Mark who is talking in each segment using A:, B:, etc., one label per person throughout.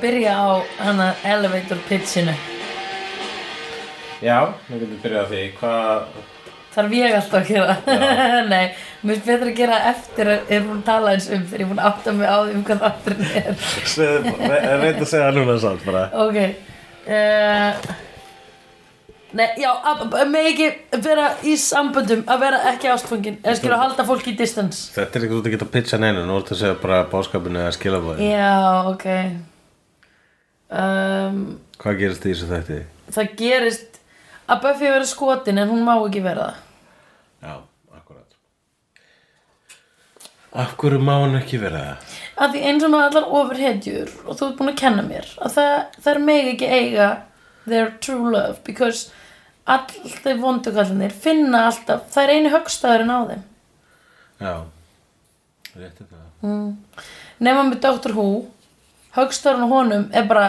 A: byrja á hana elevator pitchinu
B: Já, við getum byrjað á því. Hvað,
A: Þarf ég alltaf að gera
B: Já.
A: Nei, mér finnst betra að gera eftir að er búin að tala eins um þegar ég er búin að átta mig á því um hvað þátturinn er
B: reynda að segja það núna samt bara.
A: Ok uh, Nei, já, að- að- að megi ekki vera í samböndum að vera ekki ástfangin eða skilur að halda fólki í distance
B: Þetta er ekki þú ert ekki að pitcha neina, nú ertu að segja bara báskapinu eða skilabóðin.
A: Já, ok um,
B: Hvað gerist í þessu þætti?
A: Það gerist að Buffy verið skotin en hún má ekki vera það
B: Já, akkurat. Af hverju má hann ekki vera það?
A: að því eins og með allar ofurhetjur og þú ert búin að kenna mér að það, það er meg ekki eiga their true love because all þeir vondukallinir finna alltaf, það er eini högstæðurinn á þeim
B: Já, rétt er það.
A: nema með Doctor Who högstæðurinn á honum er bara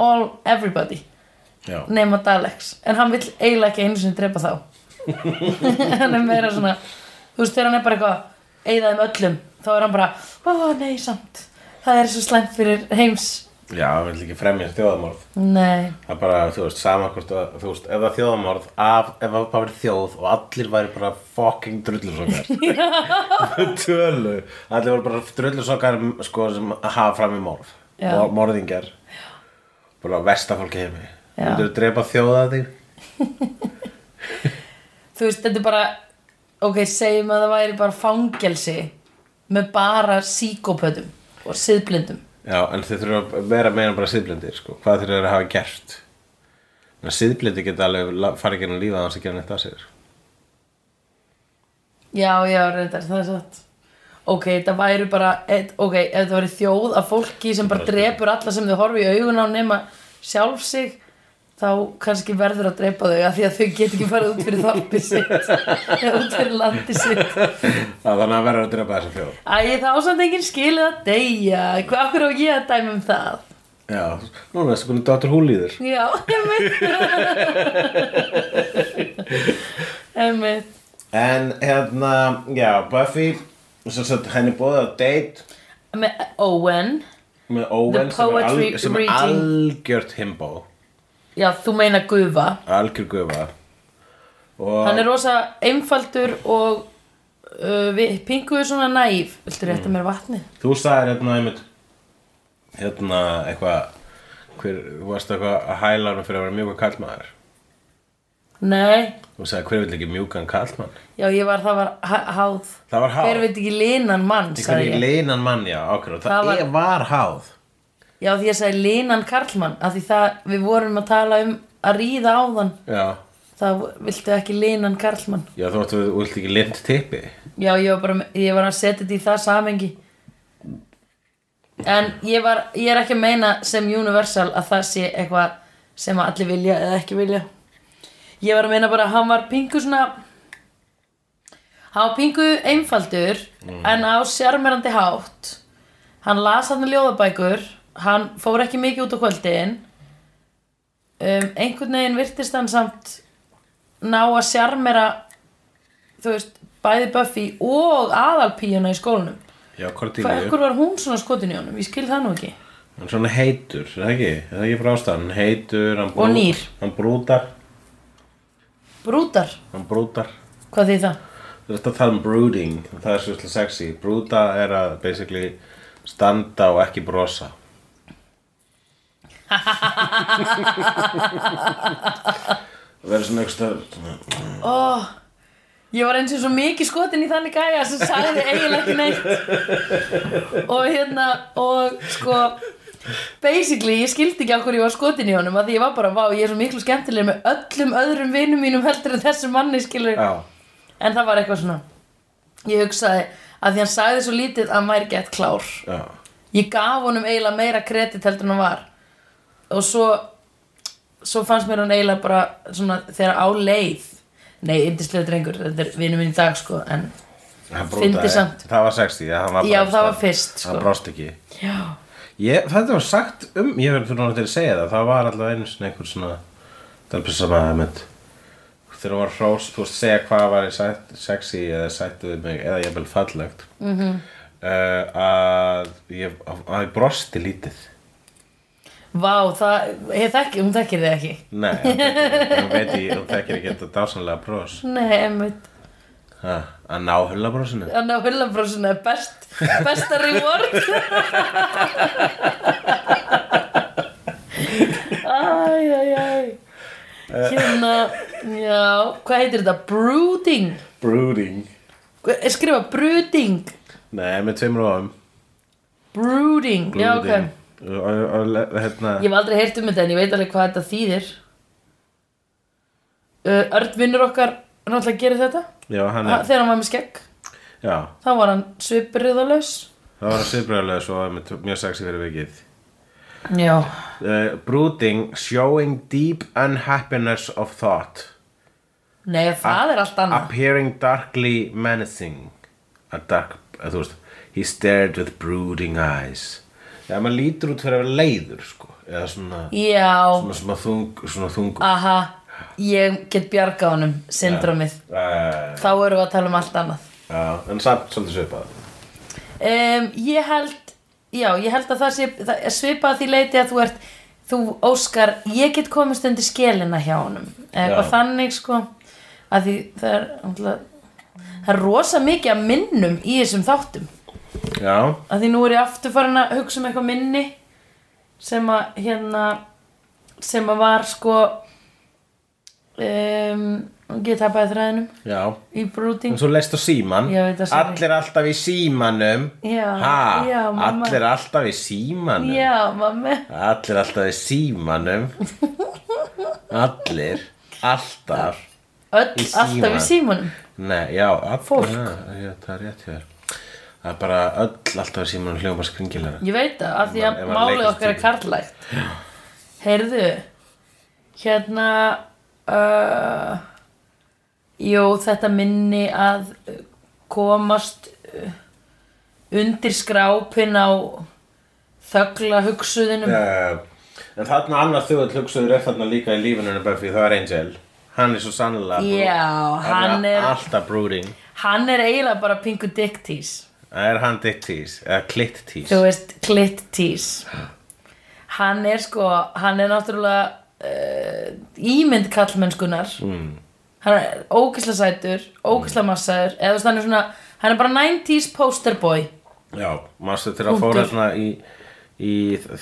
A: all everybody
B: Já,
A: nema Daleks en hann vill eiginlega ekki einu sinni drepa þá hann er meira svona þú veist þegar hann er bara eitthvað eigða þeim öllum, þá er hann bara ó nei samt, það er svo slæmt fyrir heims,
B: já, við ætlum ekki fremja þjóðamorð.
A: nei
B: Það er bara, þú veist, sama hvort að, þú veist, ef það er þjóðamorð, af, ef það bara verið þjóð og allir væri bara fucking drullusokkar. Tölu. Allir voru bara drullusokkar, sko, sem hafa fram í morð.
A: Já.
B: Mor- Morðingjar. Bara versta fólk í heimi.
A: Já.
B: Þú drepa þjóða þig?
A: þú veist, þetta er bara ok, segjum að það væri bara fangelsi með bara síkópötum og siðblindum
B: Já, en þið þurfa að vera meina bara síðblindir, sko. Hvað þeir eru að hafa gert? En síðblindi geta alveg la- farið genið lífa þannig að gera neitt að sér.
A: já, já, reyndar, það er satt ok, þetta væri bara et, ok, ef þetta væri þjóð af fólki sem bara drepur alla sem þau horfi í augun á nema sjálf sig þá kannski verður að drepa þau af því að þau get ekki farið út fyrir þorpi sitt eða út fyrir landi sitt
B: Það þannig að vera að drepa þessa þjóð.
A: Æ, þá samt enginn skilið að deyja Hvað okkur á ég að dæma um það?
B: Já, núna þessu kunni Dr. Who líður.
A: Já, emmitt Emmitt
B: En hérna, já, Buffy, sem sagt, henni bóðið á date
A: Með Owen
B: með Owen
A: The
B: sem er,
A: poetry
B: sem er
A: reading.
B: algjört himbó,
A: Já, þú meina gufa
B: algjör gufa. Og
A: Hann er rosa einfaldur og uh, við pinguðu svona næf Viltu rétta
B: Mm.
A: mér vatni?
B: þú sagðir hérna einmitt, hérna eitthvað, hver, þú varst eitthvað að hæla hann fyrir að vera mjúkan kallmaður.
A: Nei,
B: Þú sagði hver vil ekki mjúkan kallmann?
A: já ég var, það var há- háð
B: Það var háð.
A: Hver veit ekki linan mann,
B: Hver
A: sagði
B: ekki
A: ég
B: leinan mann, já, okkur, það,
A: Það var-
B: er, var háð.
A: Já, því ég sagði linan karlmann af Því það, við vorum að tala um að ríða á þann
B: Já,
A: Það viltu ekki linan karlmann
B: já þú ættu, þú vilt ekki lind tippi.
A: Já, ég var, bara, með- ég var að setja þetta í það samengi En ég, var, ég er ekki að meina sem universal að það sé eitthvað sem að allir vilja eða ekki vilja Ég var að meina bara að hann var pingu svona Hann var pingu einfaldur en á sjarmerandi hátt Hann las hann ljóðabækur Hann fór ekki mikið út á kvöldin um, Einhvern veginn virtist hann samt ná að sjarmera þú veist, bæði Buffy og aðalpíjuna í skólanum
B: Já, hvort
A: Hvað, ekkur var hún svona skotin í honum? Ég skil það nú ekki
B: Hann er svona heitur, er það ekki? Er það ekki frá ástæðan? Hann heitur, hann brú-
A: Og nýr.
B: Hann brútar,
A: Brútar,
B: hann brútar.
A: hvað þið það?
B: Þú veist að tala um brooding, það er svolítið sexy. Brúta er að basically standa og ekki brosa. Það verður svona einhver stöð, svona,
A: Oh, ég var eins og svo mikið skotin í þannig gæja sem sagði eiginlega ekki neitt og hérna og sko basically ég skildi ekki á hverju ég var skotin í honum að því ég var bara, vá, ég er svo miklu skemmtileg með öllum öðrum vinum mínum heldur en þessum manni skilur
B: já,
A: en það var eitthvað svona ég hugsaði að því hann sagði svo lítið að hann væri gett klár
B: já,
A: ég gaf honum eiginlega meira kredit heldur en hann var og svo svo fannst mér hann eiginlega bara svona þegar á leið nei, yndislega drengur, þetta er vinur minn í dag sko, en
B: hann
A: Fyndi
B: brútaði.
A: samt.
B: Það var sexy, já, hann var bara
A: Já,
B: einhvers
A: það var
B: staðar.
A: fyrst, sko.
B: Hann brost ekki.
A: já,
B: Ég, þetta var sagt um, ég verður fyrir náttúrulega til að segja það, það var allavega einu svona einhver svona, það er bara sama að með, þegar það var hrós, þú veist, segja hvað var í sætt, sexy eða sættu við mig, eða jafnvel fallegt, mm
A: Mhm.
B: -hmm. að, ég, að ég brosti lítið.
A: Vá, það, ég þekki, hún þekkir þig ekki
B: Nei, hún þekkir- hún veit ég, hún þekkir ekki þetta dásanlega bros
A: Nei, einmitt
B: ha, Að ná hulla brosinu
A: Þannig að hullabrósuna er best Besta reward Æ, æ, æ Hérna, já Hvað heitir þetta? Brooding
B: Brooding
A: Hva- er Skrifa brooding
B: Nei, með tveimur ofum
A: Brooding, já ok
B: og, og, og le- hérna
A: Ég hef aldrei heyrt um þetta en ég veit alveg hvað þetta þýðir Uh, Örn vinnur okkar náttúrulega gerir þetta
B: Já, hann
A: Ha-
B: er
A: þegar hann var með skegg
B: Já,
A: þá var hann svipriðalaus
B: það var sviðbröðlega svo með t- mjög sexy fyrir vikið
A: Já,
B: uh, Brooding, showing deep unhappiness of thought
A: nei það er allt annað
B: Appearing darkly menacing A dark, að þú veist He stared with brooding eyes Já, maður lítur út fyrir að vera leiður sko. eða svona,
A: Já, Ah.
B: svona, svona þung svona þung
A: aha ég get bjarga honum, syndromið
B: uh,
A: þá erum við að tala um allt annað
B: uh, En samt svolítið svipað
A: um, Ég held já, ég held að það sé það er svipað að því leiti að þú ert þú óskar, ég get komist undir skelina hjá honum
B: Já.
A: og þannig sko að því það er náttúrulega- það er rosa mikið að minnum í þessum þáttum
B: Já,
A: að því nú er ég aftur farin að hugsa um eitthvað minni sem að hérna sem að var sko um, ég tapaði þræðinum
B: já
A: í
B: En
A: brooding
B: svo leist á síman
A: Já, veit það, sorry.
B: Allir alltaf í símanum
A: Já,
B: ha,
A: já, mamma.
B: Allir alltaf í símanum
A: já, mamma
B: Allir alltaf í símanum Allir Alltaf
A: öll,
B: Í síma.
A: alltaf í símanum
B: Nei, já, all,
A: Fólk.
B: já, já, Það er rétt hjá þér Það er bara öll alltaf í símanum hljóma skringilega
A: ég veit það, að því
B: Ef
A: að
B: maður- ef maður
A: málið
B: leikist
A: okkar er
B: í-
A: karlægt heyrðu hérna uh, jú, þetta minni að uh, komast uh, undir skrápin á þögla hugsuðinum
B: uh, En þarna annar þjóðall hugsaður er þarna líka í lífinu hennar Buffy, það er Angel Hann er svo sannlega brú-
A: Já, hann er-
B: Alltaf brooding
A: Hann er eiginlega bara pingu dick tease
B: Er hann dick tease, eða klitt tease
A: Þú veist, clit tease Hann er sko, hann er náttúrulega uh, ímynd kallmennskunar mm. Hann er ókisla sætur, ókisla massaður Eða þú veist, hann er svona, hann er bara 90s poster boy
B: Já, manstu þegar að fóra
A: Punktur.
B: svona í í,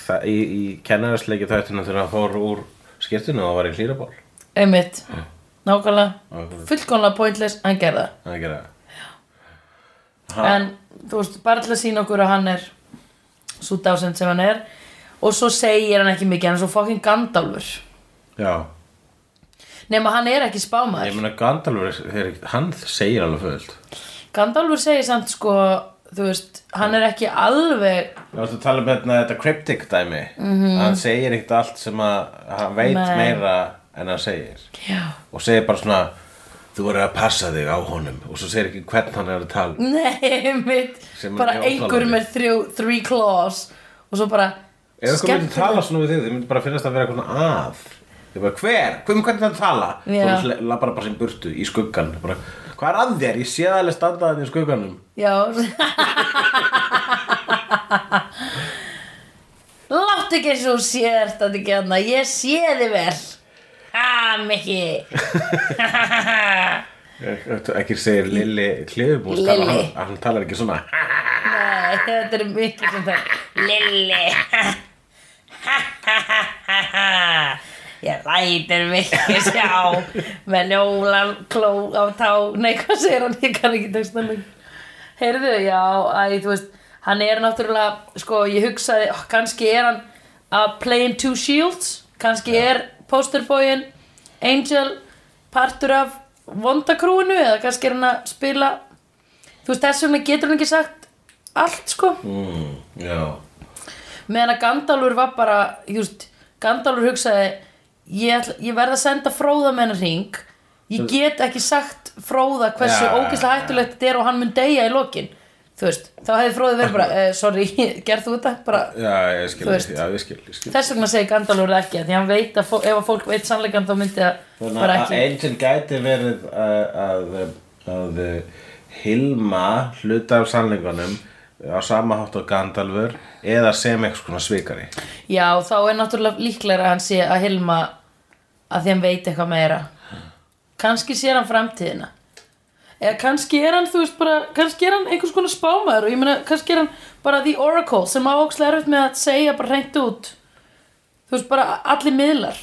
B: þa- í, í kennarasleiki þættina þegar að fóra úr skirtinu og það var í hlýraból
A: Einmitt, nákvæmlega
B: Nákvæmlega.
A: Fullkomlega pointless, hann gerða
B: Það er ekki það
A: ha. En þú veist, bara til að sína okkur að hann er Svo dásend sem hann er Og svo segir hann ekki mikið, hann er svo fucking Gandalfur
B: Já,
A: Nefn hann er ekki spámaður
B: ég meina Gandalfur, er, hann segir alveg fullt
A: Gandalfur segir samt sko þú veist, hann er ekki alveg
B: Þú varst að tala um hérna þetta cryptic dæmi -hmm. Hann segir ekkert allt sem að hann veit
A: Mhm. Nei.
B: meira en hann segir
A: já,
B: og segir bara svona þú verður að passa þig á honum og svo segir ekki hvern hann er að tala um.
A: nei mitt
B: Sem er
A: bara
B: mjög
A: einhver
B: óþolandi.
A: með þrjú, three claws og svo bara
B: Ef eitthvað myndi
A: skemmtileg-
B: tala svona sko, við þig, þið myndi bara finnast að vera eitthvað svona að Ég bara, hver? Hvum hvernig það tala?
A: Já.
B: Svo labbar bara sem burtu í skuggan bara, Hvað er að þér? Ég sé það alveg standa þannig í skugganum
A: já láttu ekki eins og þú sér þetta ekki hann ég sé þið vel ha mikki
B: Ekki segir Lilli Klifum
A: Lilli.
B: hann, hann talar ekki svona
A: nei, þetta er mikki sem það lilli Ég lætir mikið sjá með njólan kló á tá Nei, hvað segir hann? Ég kann ekki texta mig Heyrðu, já, æ, þú veist Hann er náttúrulega, sko, ég hugsaði oh, kannski er hann að playing two shields kannski er posterboyin Angel partur af vondakrúinu eða kannski er hann að spila Þú veist, þess vegna getur hann ekki sagt allt, sko
B: mm, Já
A: meðan að Gandalfur var bara just, Gandalfur hugsaði ég, ætla, ég verð að senda fróða með hennar ring ég get ekki sagt fróða hversu ja,
B: Já, já,
A: ógeðslega
B: já.
A: hættulegt þetta er og hann mun deyja í lokin þú veist, þá hefði fróði verið bara eh, sorry, gerð þú þetta? Bara,
B: Já, ég skil,
A: Þú veist.
B: já, ég skil, ég skil.
A: þess vegna segir Gandalfur það ekki af því hann veit að fó, ef að fólk veit sannleikan þá myndi það
B: Þannig
A: bara
B: að
A: ekki
B: Angel gæti verið að, að, að hilma hluta af sannleikunum á sama hátt og Gandalfur eða sem einhvers konar svikari
A: Já, þá er náttúrulega líklega að hann sé að Hilma að því hann veit eitthvað meira kannski sér hann framtíðina eða kannski er hann, þú veist, bara kannski er hann einhvers konar spámaður og ég meina, kannski er hann bara the oracle sem ávokslega erfitt með að segja bara hreint út þú veist, bara allir miðlar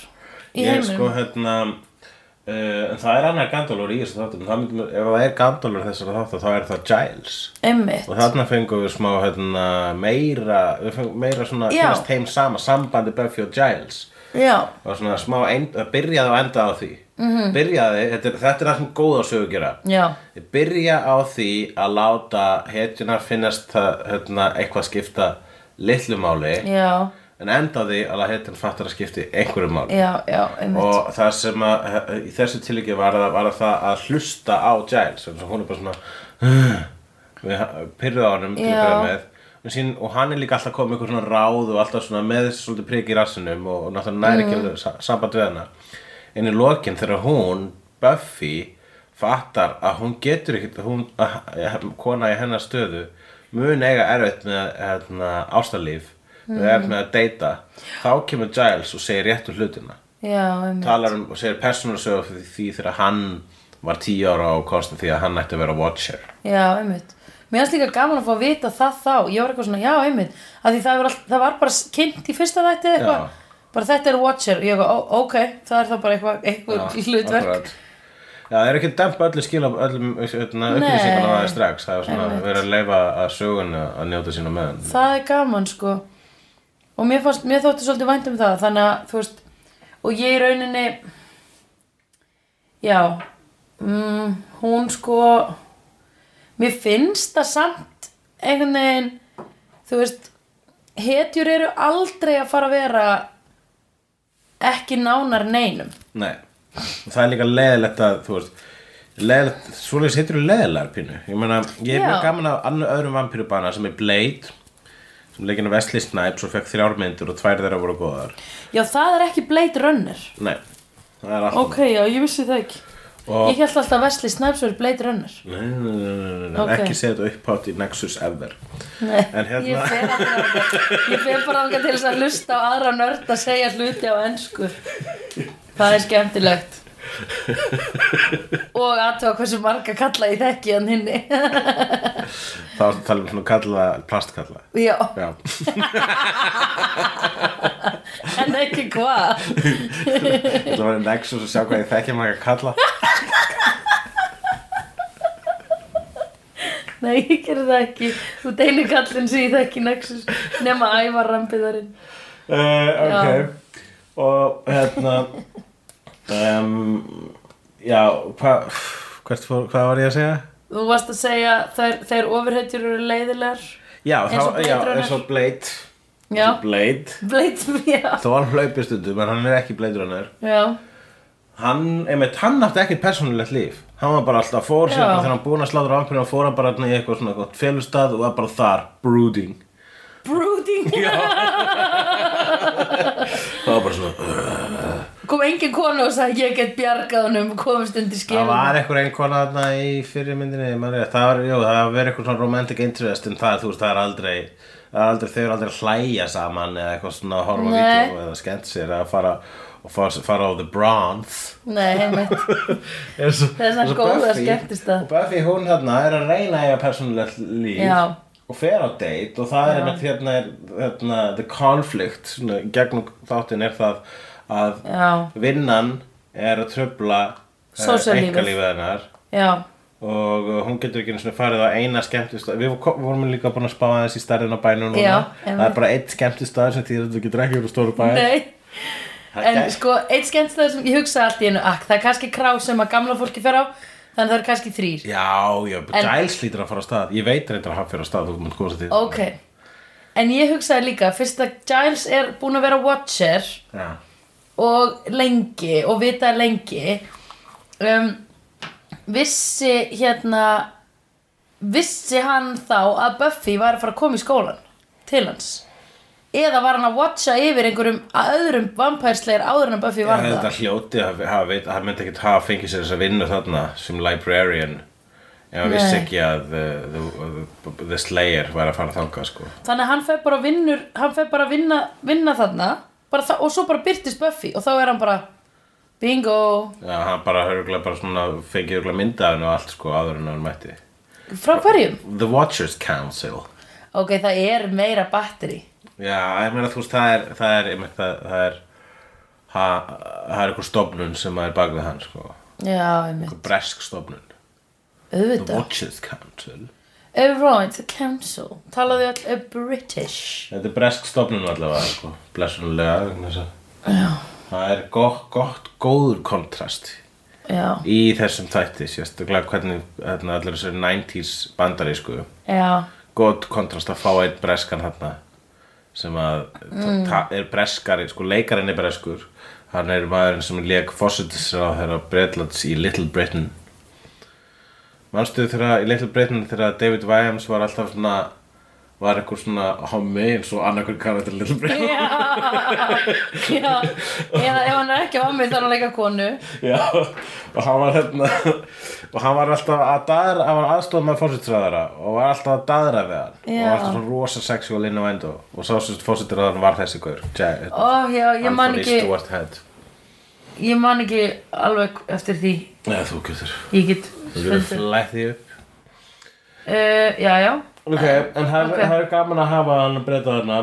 A: í
B: Ég
A: heiminum
B: sko hérna uh, en það er annar Gandalfur í þessu þáttum það myndum, ef það er Gandalfur þessara þáttum þá er það Giles
A: einmitt,
B: og þarna fengum við smá hérna, meira, við fengum meira svona
A: Já.
B: finnast heim sama sambandi Buffy og Giles
A: já,
B: og svona smá, end, það byrjaði og endaði á því
A: Mhm.
B: -hmm. byrjaði, þetta er, þetta er það sem góða sögur gera
A: já
B: Ég byrja á því að láta hetjuna finnast það, hérna, eitthvað skipta litlu máli
A: já,
B: en enda á því að hetjan fattar að skipti einhverju máli
A: já, já, einmitt
B: og það sem að he- í þessu tilíki var að, var að það að hlusta á Giles eins og hún er bara svona "Ugh", við pyrrðu á honum til að
A: Já.
B: byrja með og, sín, og hann er líka alltaf komið einhver svona ráð og alltaf svona með þessi svolítið prik í rassinum og, og náttúrulega næri ekki mm. sa samband við hana en í lokin þegar hún Buffy fattar að hún getur ekkert að hún, að, að, kona í hennar stöðu mun eiga erfitt með hérna, ástarlíf mm. erfitt með að deyta þá kemur Giles og segir réttu hlutina
A: já, einmitt
B: talar um og segir persónulegsögu fyrir því þegar hann var tíu ára og kostið því að hann ætti að vera watcher
A: Já, einmitt. Mér finnst líka gaman að fá að vita það þá. Ég var eitthvað svona, já, einmitt. Að því það var, all, það var bara kynnt í fyrsta þætti eða eitthvað. Bara þetta er Watcher. Ég eitthvað, ó- ok, það er þá bara eitthvað, eitthvað hlutverk.
B: akkurat. Já, það er ekki að dempa öllu skil af öllum upplýsingar á það strax það er svona
A: Einmitt.
B: verið að leifa að söguna að njóta sína meðan
A: Það er gaman, sko. Og mér, fannst, mér þótti svolítið vænt um það. Þannig að, þú veist, og ég í rauninni, já, mm, hún sko, mér finnst það samt einhvern veginn, þú veist, hetjur eru aldrei að fara að vera ekki nánar neinum
B: Nei, og það er líka leðilegt að þú veist leðilegt, svoleiðis heitir þú leðilegar pínu ég meina, ég er
A: Já.
B: mjög gaman af annu öðrum vampýrubana sem er Blade sem leikinn af Wesley Snipes og fekk þrjár myndir og tvær þeirra voru góðar
A: já það er ekki Blade Runner
B: Nei, það er alltaf
A: ok, já, ég vissi það ekki
B: Og-
A: ég held alltaf að Wesley Snipes verið Blade Runner
B: Nei, nei, nei, nei, nei,
A: Ok.
B: ekki segja þetta upphátt í Nexus ever
A: Nei,
B: En hérna-
A: ég fer að ég fer bara þangað til þess að hlusta á aðra nörd að segja hluti á ennsku það er skemmtilegt og aðtöga hversu marga kalla ég þekki hann hinni
B: Þá ertu að tala um svona kalla, plastkalla
A: já,
B: Já,
A: en ekki hvað
B: þetta var í Nexus og sjá hvað ég þekki maður að kalla
A: nei, ég gerði það ekki þú deynir kallinn sem ég þekki nexus nema ævar rambiðarinn
B: uh,
A: Já.
B: Ok, og hérna um, Já, hvað hvert fór, hvað var ég að segja?
A: þú varst að segja þær, þær ofurhetjur eru leiðilegar
B: Já,
A: Eins og
B: þá,
A: Blade
B: já,
A: Runner.
B: eins og Blade
A: já,
B: Blade
A: Blade, já,
B: Þó hann hlaupir stundum, en hann er ekki Blade Runner
A: já
B: hann, einmitt, hann átti ekkert persónulegt líf hann var bara alltaf fór sér
A: Já.
B: bara þegar hann búinn að sláður ámpinu og fór hann bara þarna í eitthvað svona gott félustad og var bara þar, brooding
A: brooding
B: það var bara svona, uh.
A: kom engin konu og sagði ég get bjargað honum og komist undir skilin
B: það var eitthvað ein kona þarna í fyrirmyndinni, maður er það var, jú, það var verið eitthvað svona romantic interest en það, þú veist, það er aldrei það er aldrei, þau eru aldrei að hlæja saman eða eitthvað svona að horfa á
A: Nei.
B: vídeo eða skemmt sér eða fara og fara, fara á the bronze
A: Nei, einmitt.
B: Eins og-
A: Það er svona
B: eins og
A: góða
B: Buffy-
A: skemmtistað.
B: Og Buffy hún hérna er að reyna að eiga persónulegt líf
A: Já.
B: Og fer á date og það er einmitt hérna, er, hérna The conflict, svona, gegnum þáttinn er það að
A: Já.
B: vinnan er að tröfla
A: Sósíallífið.
B: hennar
A: já,
B: og uh, hún getur ekki einu sinni farið á eina skemmtistað við vo- vorum líka búin að spá aðeins í stærðin á bænum núna
A: Já,
B: það
A: einmitt.
B: er bara eitt skemmtistað sem því að þú getur ekki verið á stóru bæn
A: nei
B: Það
A: En
B: gæti-
A: sko, eitt skemmtistað sem ég hugsa allt í einu Akk, það er kannski krá sem að gamla fólki fer á Þannig það eru kannski þrýr
B: Já, já,
A: En-
B: Giles lítur að fara á stað Ég veit reyndar að hann fyrir á stað, þú mútt góðast að því
A: Ok En ég hugsaði líka, fyrst að Giles er búin að vera watcher
B: Já.
A: og lengi og vita lengi um, vissi hérna vissi hann þá að Buffy var að fara að koma í skólan til hans eða var hann að watcha yfir einhverjum öðrum vampærsleir áður en að Buffy var
B: þetta
A: það
B: hljóti að hafa veit að hann myndi ekkert hafa fengið sér þessa vinnu þarna sem librarian Ég vissi
A: Nei.
B: ekki að uh, the, the, the Slayer væri að fara þangað sko.
A: þannig að hann fer bara að vinnur hann fer bara að vinna, vinna þarna bara það, og svo bara byrtist Buffy og þá er hann bara bingo
B: Já, hann bara, örugglega bara svona, fengið örugglega mynd af henni og allt sko, áður en hann mætti
A: frá hverjum?
B: The Watchers Council
A: ok, það er meira batteri
B: Já, ég meina þú veist, það er það er, einmitt, það, það er ha, það er einhver stofnun sem er bak við hann sko.
A: já, einmitt,
B: einhver bresk stofnun The
A: auðvitað
B: Watchers Council
A: Everyone's a council talaðu öll a British
B: Þetta er bresk stofnun allavega sko. blessunulega vegna þess að- Það er gott, gott góður kontrast
A: já,
B: í þessum þætti sérstaklega hvernig hérna, allir þessir 90s bandari sko
A: já,
B: gott kontrast að fá einn breskan þarna sem að mm. er breskari, sko leikarinn er breskur hann er maðurinn sem leik fósutisráðherra Bretlands í Little Britain manstu þegar í Little Britain þegar David Williams var alltaf svona var eitthvað svona hommi eins og annarkur karakter í Little Britain
A: já já, eða ef hann er ekki á mig þá er hann að leika konu
B: Já, og hann var hérna og hann var alltaf að daðra hann var aðstofað með fórsetisræðara og var alltaf að daðra við hann og
A: Já.
B: var alltaf svona rosa sexual inn á endu og sá sem fórsetisræðan var þessi gaur Jack-
A: ó, já, ég man
B: Anthony
A: ekki
B: Stewart Head
A: ég man ekki alveg eftir því
B: Nei, þú getur
A: ég get
B: Þú getur
A: fundur
B: flætt því upp
A: uh, já, já,
B: Ok, en það
A: Ok.
B: okay. er gaman að hafa hann að breyta þarna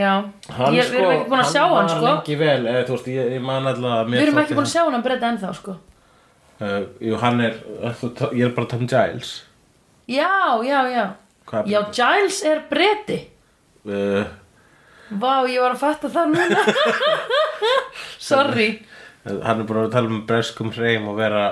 A: já
B: Hann
A: ég,
B: sko,
A: við erum ekki búin að sjá hann sko
B: Hann var lengi vel, eða þú veist, ég, ég man alltaf að mér
A: við erum
B: þótti
A: ekki búin að
B: hann-
A: sjá hann að breyta ennþá sko
B: Uh, Jú, hann er, uh, ég er bara að tala um Giles
A: já, já, já
B: Hvað
A: já, Giles er breyti
B: Uh,
A: vá, ég var að fatta það núna sorry
B: Hann er búin að tala um breskum hreim og vera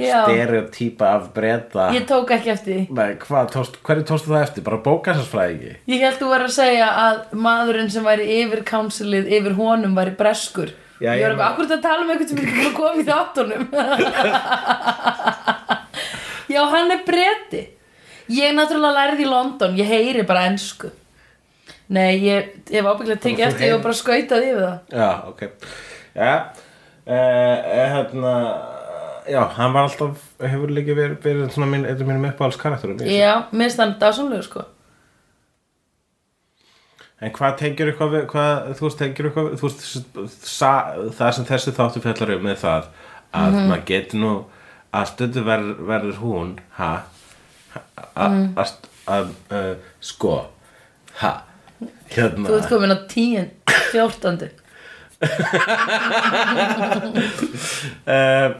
A: Já.
B: stereotýpa af breyta
A: ég tók ekki eftir því
B: Nei, hvað, tóst, hverju tóstu það eftir? Bara bókasarsfræði
A: ég held þú verið að segja að maðurinn sem væri yfir kánsilið, yfir honum væri breskur
B: Já,
A: ég
B: ég
A: var
B: meina-
A: eitthvað, akkur þetta tala um eitthvað sem er ekki búin að koma í þáttunum já, hann er breti ég náttúrulega lærið í London ég heyri bara ensku nei, ég, ég var ábygglega að
B: Þú
A: tekja eftir ég
B: heyrir-
A: var bara að skautað yfir það
B: Já, ok Já, e, e, hérna Já, hann var alltaf, hefur líka verið, verið svona minn, eitthvað mínum uppáhalds karakterum
A: já, mér finnst hann dásamlegu sko
B: En hvað tengjur eitthvað við, hvað, þú veist, tengjur eitthvað við, þú veist, sa, það sem þessi þáttu fjallar um með það að
A: Mhm.
B: maður getur nú, að stundu verður, verður hún, ha, að, mm.
A: Mhm.
B: að, st- að, uh, sko, ha, hérna.
A: þú ert komin á tíun, fjórtandu
B: uh,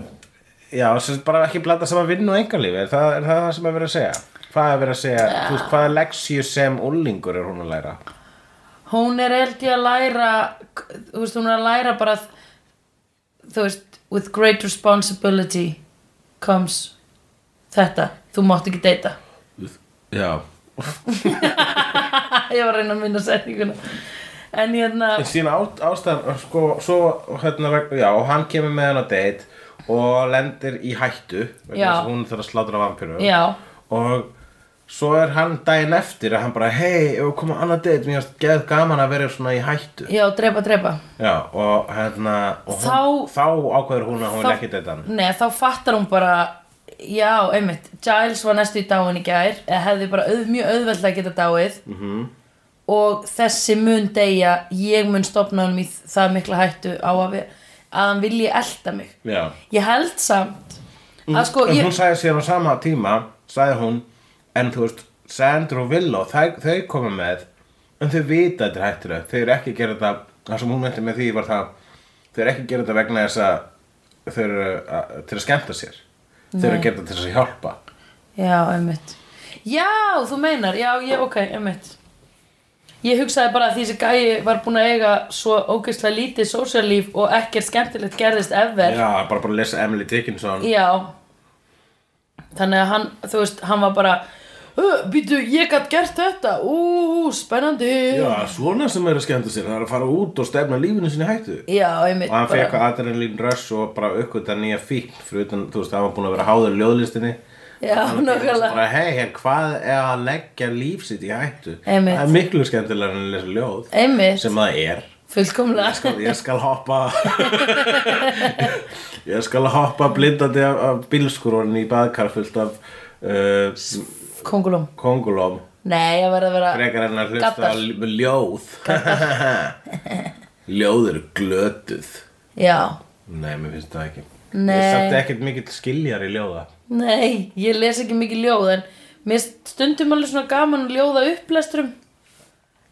B: já, sem sagt bara ekki blanda saman vinnu og engalífi, er það, er það það sem er verið að segja? Hvað er verið að segja, þú veist, hvaða leksíu sem úlingur er hún að læra?
A: hún er held ég að læra þú veist, hún er að læra bara þú veist, with great responsibility comes þetta, þú mátt ekki deyta
B: Já.
A: ég var að reyna að minna setninguna en hérna,
B: En síðan á, ástæðan, sko, svo, hérna, veg- já, og hann kemur með hann á date og lendir í hættu,
A: Já.
B: vegna þess að hún þarf að slátra vampíru.
A: já
B: Og svo er hann daginn eftir að hann bara, hei, ef við komum á annað date, mér finnst geð gaman að vera svona í hættu.
A: já, drepa, drepa
B: Já, og hérna, og hún,
A: Þá-
B: þá ákveður hún að hún vil ekki date hann.
A: Nei, þá fattar hún bara Já, einmitt, Giles var næstu í dáin í gær eða hefði bara auð, mjög auðveld að geta dáið -hmm.
B: Mhm.
A: og þessi mun deyja ég mun stopna hann í það mikla hættu á að, við, að hann vilji elta mig
B: Já.
A: Ég held samt að sko,
B: Mm. En
A: ég,
B: hún sagði síðan á sama tíma sagði hún, en þú veist Sandra og Willow, þau, þau koma með en þau vita þetta er hættulega þau eru ekki að gera þetta það sem hún meinti með því var það þau eru ekki að gera þetta vegna þess að þau eru að, til að skemmta sér þau eru að gera þetta til þess að hjálpa
A: já, einmitt Já, þú meinar, já, ég, ok, einmitt Ég hugsaði bara að því sem gæi var búin að eiga svo ógeðslega lítið sósíallíf og ekkert skemmtilegt gerðist ever
B: Já, bara bara að lesa Emily Dickinson
A: Já Þannig að hann, þú veist, hann var bara Býtu, ég gætt gert þetta Ú, spennandi
B: Já, svona sem eru að skemmta sér það er að fara út og stefna lífinu sinni í hættu
A: Já, einmitt
B: og hann
A: bara-
B: fekk adrenalín rush og bara aukvitað nýja fíkn fyrir utan, þú veist, hann var búin að vera háður ljóðlistinni
A: Já, nákvæmlega
B: bara hei, hér, hvað er að leggja líf sitt í hættu
A: Einmitt.
B: það er miklu skemmtilega en að lesa ljóð
A: Einmitt,
B: sem það er ég
A: fullkomlega
B: skal, ég skal hoppa ég skal hoppa blindandi af, af bílskurunni í baðkar fullt af uh,
A: Kongulum
B: kongulóm
A: Nei, ég verð að vera
B: frekar en að hlusta á
A: Gaddar.
B: l- ljóð ljóð eru glötuð
A: Já,
B: nei, mér finnst það ekki
A: Nei.
B: ég er samt ekkert mikill skiljar í ljóða
A: nei, ég les ekki mikið ljóð en mér finnst stundum alveg svona gaman að ljóða upplesturum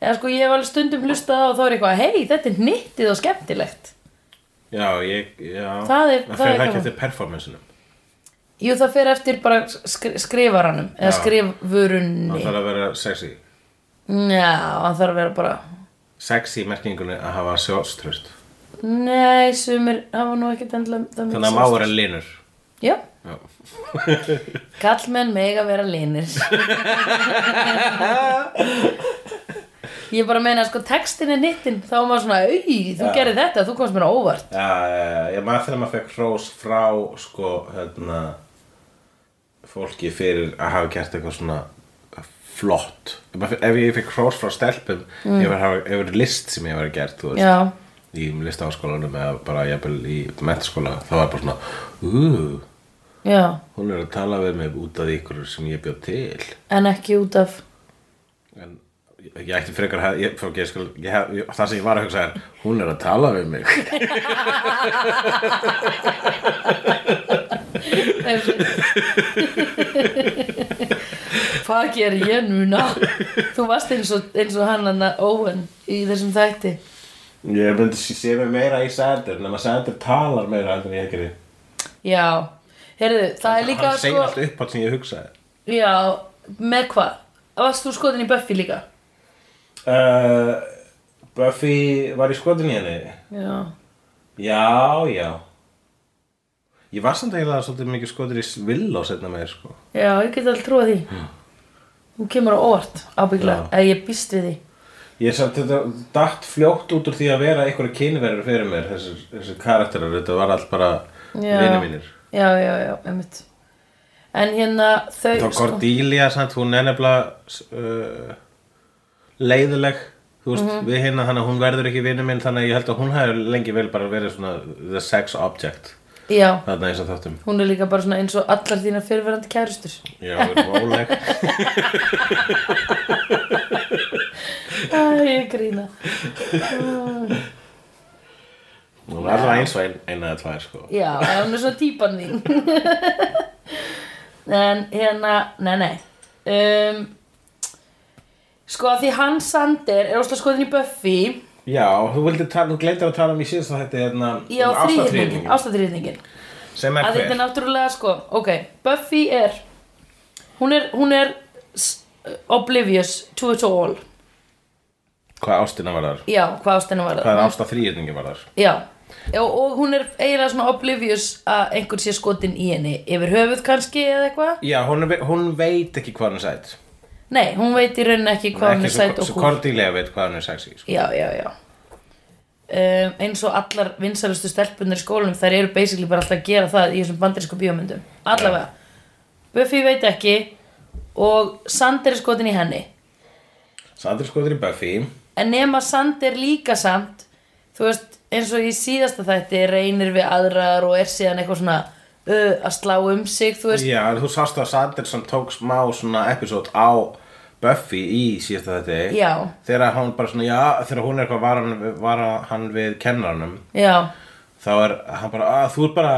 A: eða sko ég hef alveg stundum hlustað á og þá er eitthvað hei, þetta er nýttið og skemmtilegt
B: já, ég, já
A: Það er- það
B: það
A: er
B: fyrir það ekki
A: gaman.
B: eftir performanceinu
A: Jú, það fer eftir bara skri skrifaranum eða
B: Já.
A: skrifurunni
B: það þarf að vera sexy
A: Já, hann þarf að vera bara
B: sexy í merkingunni að hafa sjóströst
A: Nei, sumir hafa nú ekkert endilega það mikið
B: þannig að má vera linur
A: sjálfstraust. Já,
B: Já.
A: kallmenn mega vera linir Ég bara meina sko textin er nittin þá var maður svona, auði, þú
B: Já.
A: gerir þetta þú komst mér á óvart
B: Já, já, ég maður þegar maður fekk hrós frá sko, hérna fólki fyrir að hafa gert eitthvað svona flott Ef maður fe- ef ég fekk hrós frá stelpum mm. ef hafa- ef verið list sem ég verið gert þú veist,
A: Já,
B: í listaháskólanum eða bara jafnvel í mentaskóla þá var bara svona uh,
A: já,
B: hún er að tala við mig út af ykkur sem ég bjóð til
A: en ekki út af
B: en ég, ég ætti frekar að ég, ég, ég skal, ég, hef- ég, það sem ég var að hugsa er hún er að tala við mig
A: Hvað ger ég núna? Þú varst eins og, eins og hann hann Owen í þessum þætti
B: ég myndi sé- sé mig meira í Sander nema Sander talar meira heldur en ég gerir
A: Já, heyrðu, það er líka
B: hann segir
A: sko,
B: allt upp á sem ég hugsaði
A: Já, með hvað? Varst þú skotin í Buffy líka?
B: uh, Buffy var í skotin í henni
A: Já,
B: já, já ég var samt eiginlega svolítið mikið skotin í Villó setna meir sko
A: já, ég get alveg trúa því Hún kemur á óvart, ábyggla
B: Já.
A: eða ég býst við því
B: Ég er samt þetta dætt fljótt út úr því að vera einhverja kynverður fyrir mér, þessir, þessir karakterar, þetta var allt bara
A: Já.
B: vinir mínir.
A: Já, já, já, einmitt En hérna þau
B: Þá Cordelia, sant, hún er nefnilega uh, leiðileg þú veist,
A: Mhm.
B: við hérna, þannig að hún verður ekki vinnu minn þannig að ég held að hún hefur lengi vel bara verið svona the sex object
A: Já,
B: þarna eins og þáttum
A: hún er líka bara svona eins og allar þína fyrirverandi kærustur
B: Já, róleg
A: Æ, ég grína
B: Hún er allavega eins og ein, eina eða tvær sko
A: Já, eða hún er svona típan þín En hérna, nei, nei um, Sko að því hann Sander er óslega skoðin í Buffy
B: Já, þú vildi tala, þú gleytir að tala um í síðast að þetta er hérna
A: Já,
B: um
A: þrýhyrningin,
B: ástatrýningin
A: ástatrýðningin
B: sem er
A: Að þetta er
B: hver
A: náttúrulega sko, ok Buffy er Hún er, hún er s- uh, oblivious to it all
B: Hvað ástina var þar?
A: Já, hvað ástæðan var
B: Hvað
A: það
B: er ástatrýningin var þar?
A: Já, og, og hún er eiginlega svona oblivious að einhver sé skotin í henni yfir höfuð kannski eða eitthvað
B: Já, hún, er- hún veit ekki hvað hún er sætt
A: Nei, hún veit í rauninni ekki hvað hún er sætt og
B: Svo
A: kúl
B: Cordelia veit hvað hún er sexy sko.
A: Já, já, já um, Eins og allar vinsalustu stelpunar í skólanum þær eru basically bara alltaf að gera það í þessum bandarísku bíómyndum Allavega Buffy veit ekki og Sander er skotin í henni
B: Sandri skoður í Buffy
A: En nema Sander líka samt Þú veist, eins og í síðasta þætti reynir við aðrar og er síðan eitthvað svona uh, að slá um sig, þú veist
B: Já, en þú sást að Sanderson tók smá svona episode á Buffy í síðasta þetta
A: Já.
B: Þegar hún bara svona, já, þegar hún er eitthvað var hann, var hann við kennaranum
A: Já,
B: Þá er hann bara, að þú er bara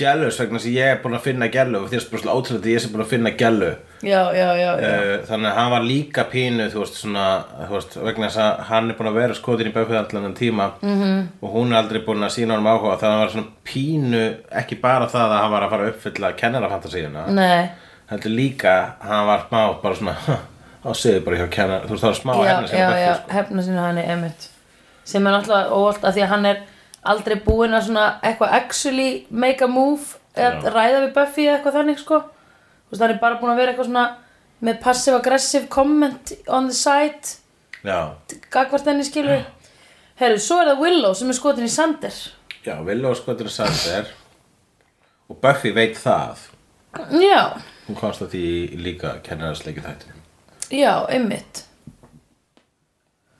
B: jealous vegna þess að ég er búin að finna gælu og þér er bara svona ótrúlega að ég sé búin að finna gælu
A: já, já, já, já.
B: Uh, þannig að hann var líka pínu þú veist, svona, þú veist, vegna þess að hann er búin að vera skotin í Buffy allan en tíma -hmm.
A: Mhm.
B: og hún er aldrei búin að sína honum áhuga þannig að hann var svona pínu, ekki bara það að hann var að fara að uppfylla kennarafantasíuna
A: Nei,
B: heldur líka að hann var smá bara svona, þá séðu bara hjá kennar þú veist, það var smá
A: já,
B: henni sem
A: já,
B: Buffy
A: já,
B: sko.
A: hefna sinni hann er emitt sem er náttúrulega óvalt að því að hann er aldrei búinn að svona eitthvað actually make a move eða
B: Já.
A: ræða við Buffy eða eitthvað þannig sko þú veist, hann er bara búinn að vera eitthvað svona með passive-aggressive comment on the side
B: já,
A: gagvart henni skilur herru, svo er það Willow sem er skotin í Sander
B: já, Willow skotin í Sander og Buffy veit það
A: já,
B: hún komst að því líka kennararsleiki þættinum
A: já, einmitt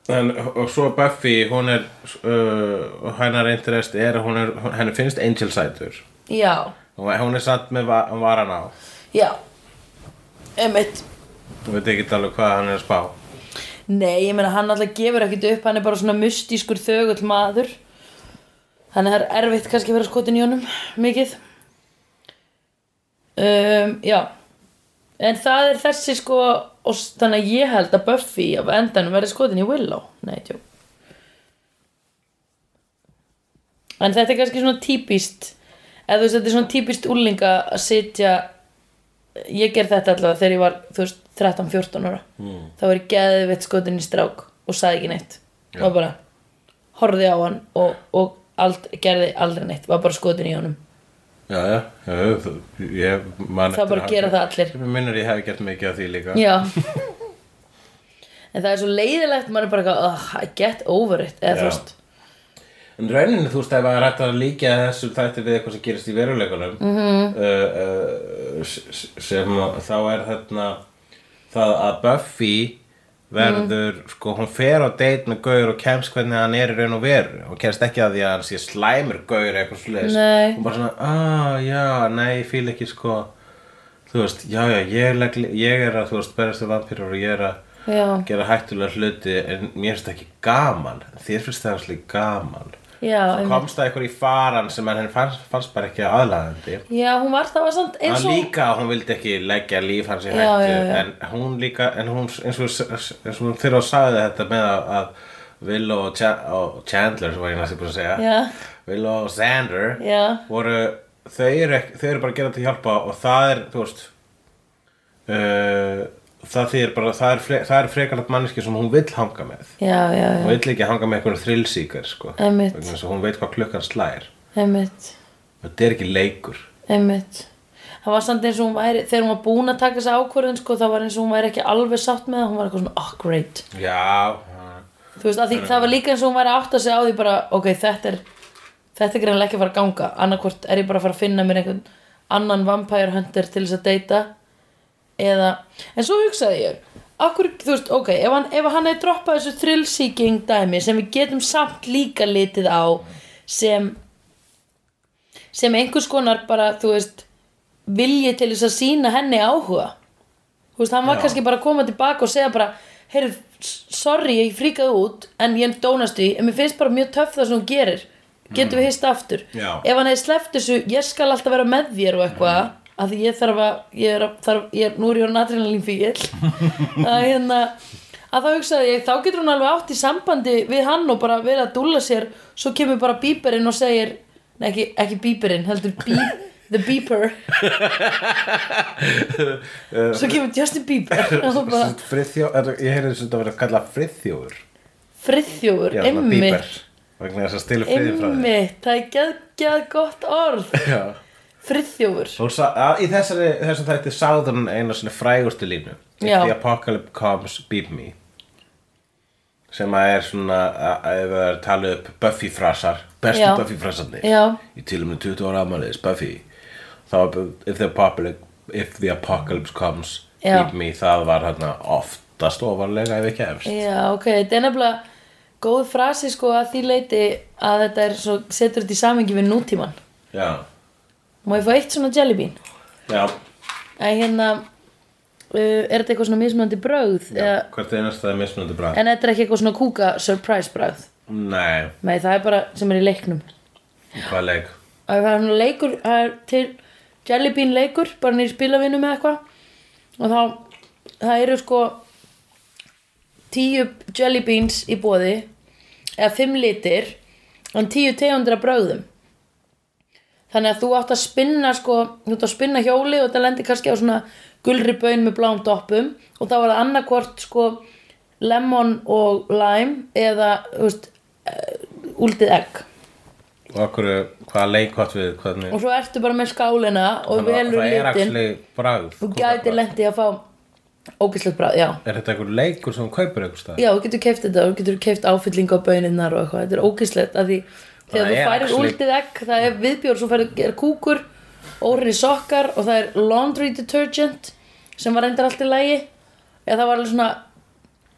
B: En, og svo Buffy, hún er uh, hennar interest er að hún er, henni finnst Angel sætur
A: já,
B: og hún er samt með va varan á
A: já Einmitt.
B: Þú veit ekki alveg hvað hann er að spá
A: Nei, ég meina hann alltaf gefur ekkert upp, hann er bara svona mystískur þögull maður. Þannig að það er erfitt kannski að vera skotin í honum, mikið. Um, já. En það er þessi sko, og s- þannig að ég held að Buffy af endanum verði skotin í Willow. Nei, tjó. En þetta er kannski svona típist, eða þú veist, þetta er svona típist úlinga að sitja, ég ger þetta allavega þegar ég var, þú veist, 13-14 ára.
B: Hmm.
A: Mm. Þá var ég geðveitt skotin í strák og sagði ekki neitt.
B: Já.
A: Já. Og bara, horfði á hann og, og ald, gerði aldrei neitt, var bara skotin í honum
B: Já, já, já, já þú- ég man
A: Það
B: eftir
A: bara
B: að
A: gera
B: hafa-
A: það allir.
B: Ég minnur ég hef gert mikið af því líka
A: Já En það er svo leiðilegt, maður er bara eitthvað, oh, I get over it, eða
B: Já.
A: þú veist
B: En rauninni, þú veist, ef maður ætti að líka þessu þætti við eitthvað sem gerist í veruleikunum mm -hmm. uh, uh, sem að- þá er þarna það að Buffy verður, sko, hún fer á date með Gaur og kemst hvernig hann er í raun og veru hún kemst ekki að því að hann sé slæmur Gaur eða eitthvað svoleiðis
A: Nei.
B: hún bara svona, ah, já, nei, ég fíl ekki, sko þú veist, já, já, ég, legg, ég er að, þú veist, berjast við vampýrur og ég er að
A: Já,
B: gera hættulega hluti en mér finnst það ekki gaman þér finnst það alveg gaman
A: já,
B: Svo
A: um,
B: komst það einhver í faran sem henni fannst, fannst bara ekki aðlaðandi
A: já, hún var það var samt
B: hann
A: eins og
B: líka, hún vildi ekki leggja líf hans í
A: Já,
B: hættu
A: já, já.
B: en hún líka, en hún eins og, eins og hún þegar hún sagði þetta með að, að Willow og, Cha og Chandler sem var ég næstu búin að segja
A: Já.
B: Willow og Xander
A: Já.
B: voru, þau eru, ekki, þau eru bara að gera til hjálpa og það er, þú veist uh, það þýr bara það er, fre, það er frekarlega manneski sem hún vill hanga með
A: Já, já,
B: hún
A: já,
B: vill ekki hanga með einhverjum thrillsíkar sko.
A: Einmitt.
B: Vegna þess að hún veit hvað klukkan slæðir
A: einmitt,
B: þetta er ekki leikur
A: einmitt Það var samt eins og hún væri, þegar hún var búin að taka þessa ákvörðun, sko, það var eins og hún væri ekki alveg sátt með það, hún var eitthvað svona, oh, great
B: já,
A: Þú veist, að því, það var líka eins og hún væri að átta sig á því bara, ok, þetta er þetta er greinlega ekki að fara að ganga annarkvort er ég bara að fara að finna mér einhvern annan vampire hunter til þess að deyta eða, en svo hugsaði ég okkur, þú veist, ok, ef hann, ef hann hefði droppað þessu thrillseeking dæmi sem við getum samt líka litið á sem sem einhvers konar bara, þú veist vilji til þess að sína henni áhuga þú veist, hann var
B: Já.
A: kannski bara að koma tilbaka og segja bara, heyrðu, s- sorry ég fríkaði út, en ég dónast því en mér finnst bara mjög töff það sem hún gerir getum við hist aftur
B: Já.
A: ef hann hefði sleppt þessu, ég skal alltaf vera með þér og eitthvað, mm. að því ég þarf að ég er, að- þarf, ég er, nú er ég orðin adrenalín fíkil að hérna að þá hugsaði ég, þá getur hún alveg átt í sambandi við hann og bara verið að dúlla sér svo kemur bara bíperinn og segir nei, ekki, ekki bíperinn, heldur bí, the beeper svo kemur Justin Bieber og bara,
B: friðþjó, er, ég heyrði þess að þetta verið að kalla friðþjóður
A: friðþjófur,
B: Já, svona
A: einmitt
B: bíber. vegna þess að stila friðin frá þér
A: einmitt, það er geggjað gott orð
B: Já.
A: friðþjófur
B: Hún sa- að- í þessari, þessum þætti sagði hún einu svona frægustu línu If
A: Já.
B: the apocalypse comes, beat me sem að er svona að- að ef það er talið upp Buffy frasar bestu
A: Já.
B: Buffy frasarnir
A: Já.
B: í til og með 20 ára afmæliðis Buffy þá er bu- if the apocalypse, if the apocalypse comes,
A: Já.
B: beat me það var hérna oftast ofarlega ef ekki efst
A: Já, ok, þetta er nefnilega góð frasi sko að því leiti að þetta er svo, setur þetta í samengi við nútíman.
B: Já,
A: Má ég fá eitt svona jelly bean?
B: já,
A: En hérna, uh, er þetta eitthvað svona mismunandi brögð?
B: já. hvert einast það er mismunandi bræð
A: en þetta er ekki eitthvað svona kúka surprise brögð?
B: Nei,
A: Nei, það er bara sem er í leiknum.
B: hvað leik
A: að það er svona leikur það er til Jelly Bean leikur bara nýr spilavinnu með eitthvað og þá það eru sko tíu Jelly Beans í bóði eða fimm litir en tíu tegundra brögðum þannig að þú átt að spinna sko, þú átt að spinna hjóli og það lendir kannski á svona gulri baun með bláum doppum og þá var það annarkvort sko lemon og lime eða þú veist, eh, úldið egg
B: Og okkur, hvað leik átt við, hvernig
A: og svo ertu bara með skálina og
B: Þannig að
A: velur
B: það er
A: litin
B: actually bragð
A: þú
B: kúkabragð.
A: gætir lendi að fá ógæslegt bráð, já
B: Er þetta einhver leikur sem hún kaupir einhver stað?
A: já, þú getur keift þetta, þú getur keift áfylling á böninnar og eitthvað, þetta er ógæslegt að því þegar
B: Það
A: þú
B: er
A: færir
B: actually-
A: úldið egg, það er viðbjór svo færir er kúkur, órinni sokkar og það er laundry detergent sem var endur allt í lægi eða það var alveg svona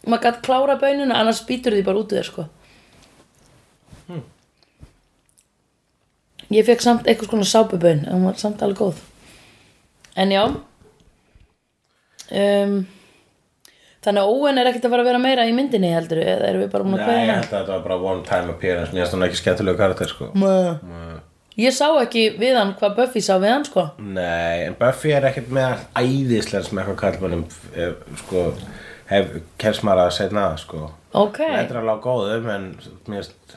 A: maður gætt klára bönina, annars býtur því bara út úr þér sko
B: Hmm.
A: Ég fekk samt einhvers konar sápubön en hún var samt alveg góð En já um, Þannig að Owen er ekkert að fara að vera meira í myndinni heldur eða erum við bara búin
B: Nei,
A: að
B: ég
A: kveða
B: held að þetta var bara one time appearance Mér finnst hann ekki skemmtilegu karakter sko
A: Mm. hana? Ég sá ekki við hann hvað Buffy sá við hann sko
B: Nei, en Buffy er ekkert með æðislega sem eitthvað kallmannum sko, hef, kemst maður að segna sko.
A: Ok,
B: Þetta er alveg á góðum en mér, finnst-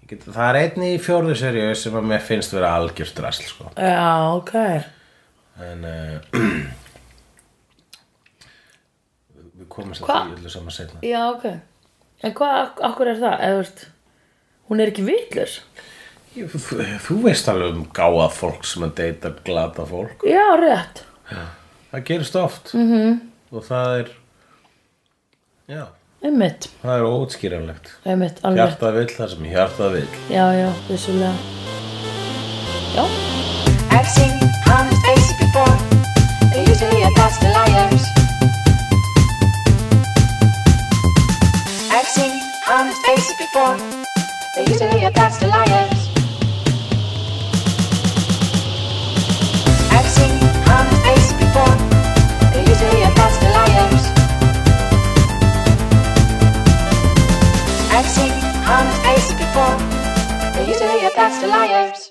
B: ég get, það er einn í fjórðu seríu sem að mér finnst vera algjört drasl sko.
A: já ok
B: en uh, við komumst að
A: Hva?
B: því öllu saman segna
A: Já ok En hvað, akkur er það? Eða veist, hún er ekki vitlur
B: þú, þú veist alveg um gáða fólk sem að deyta glata fólk
A: Já, rétt
B: það gerist oft -hmm. og það er já,
A: Einmitt,
B: það er ótskýranlegt
A: einmitt, alveg
B: Hjartað vill það sem hjartað vill
A: Já, já, vissulega Já,
C: I've seen honest faces before. They're usually a pass to liars. I've seen honest faces before. They're usually a pass to liars. I've seen honest faces before. They're usually a pass to liars. I've seen honest faces before. They're usually a pass to liars.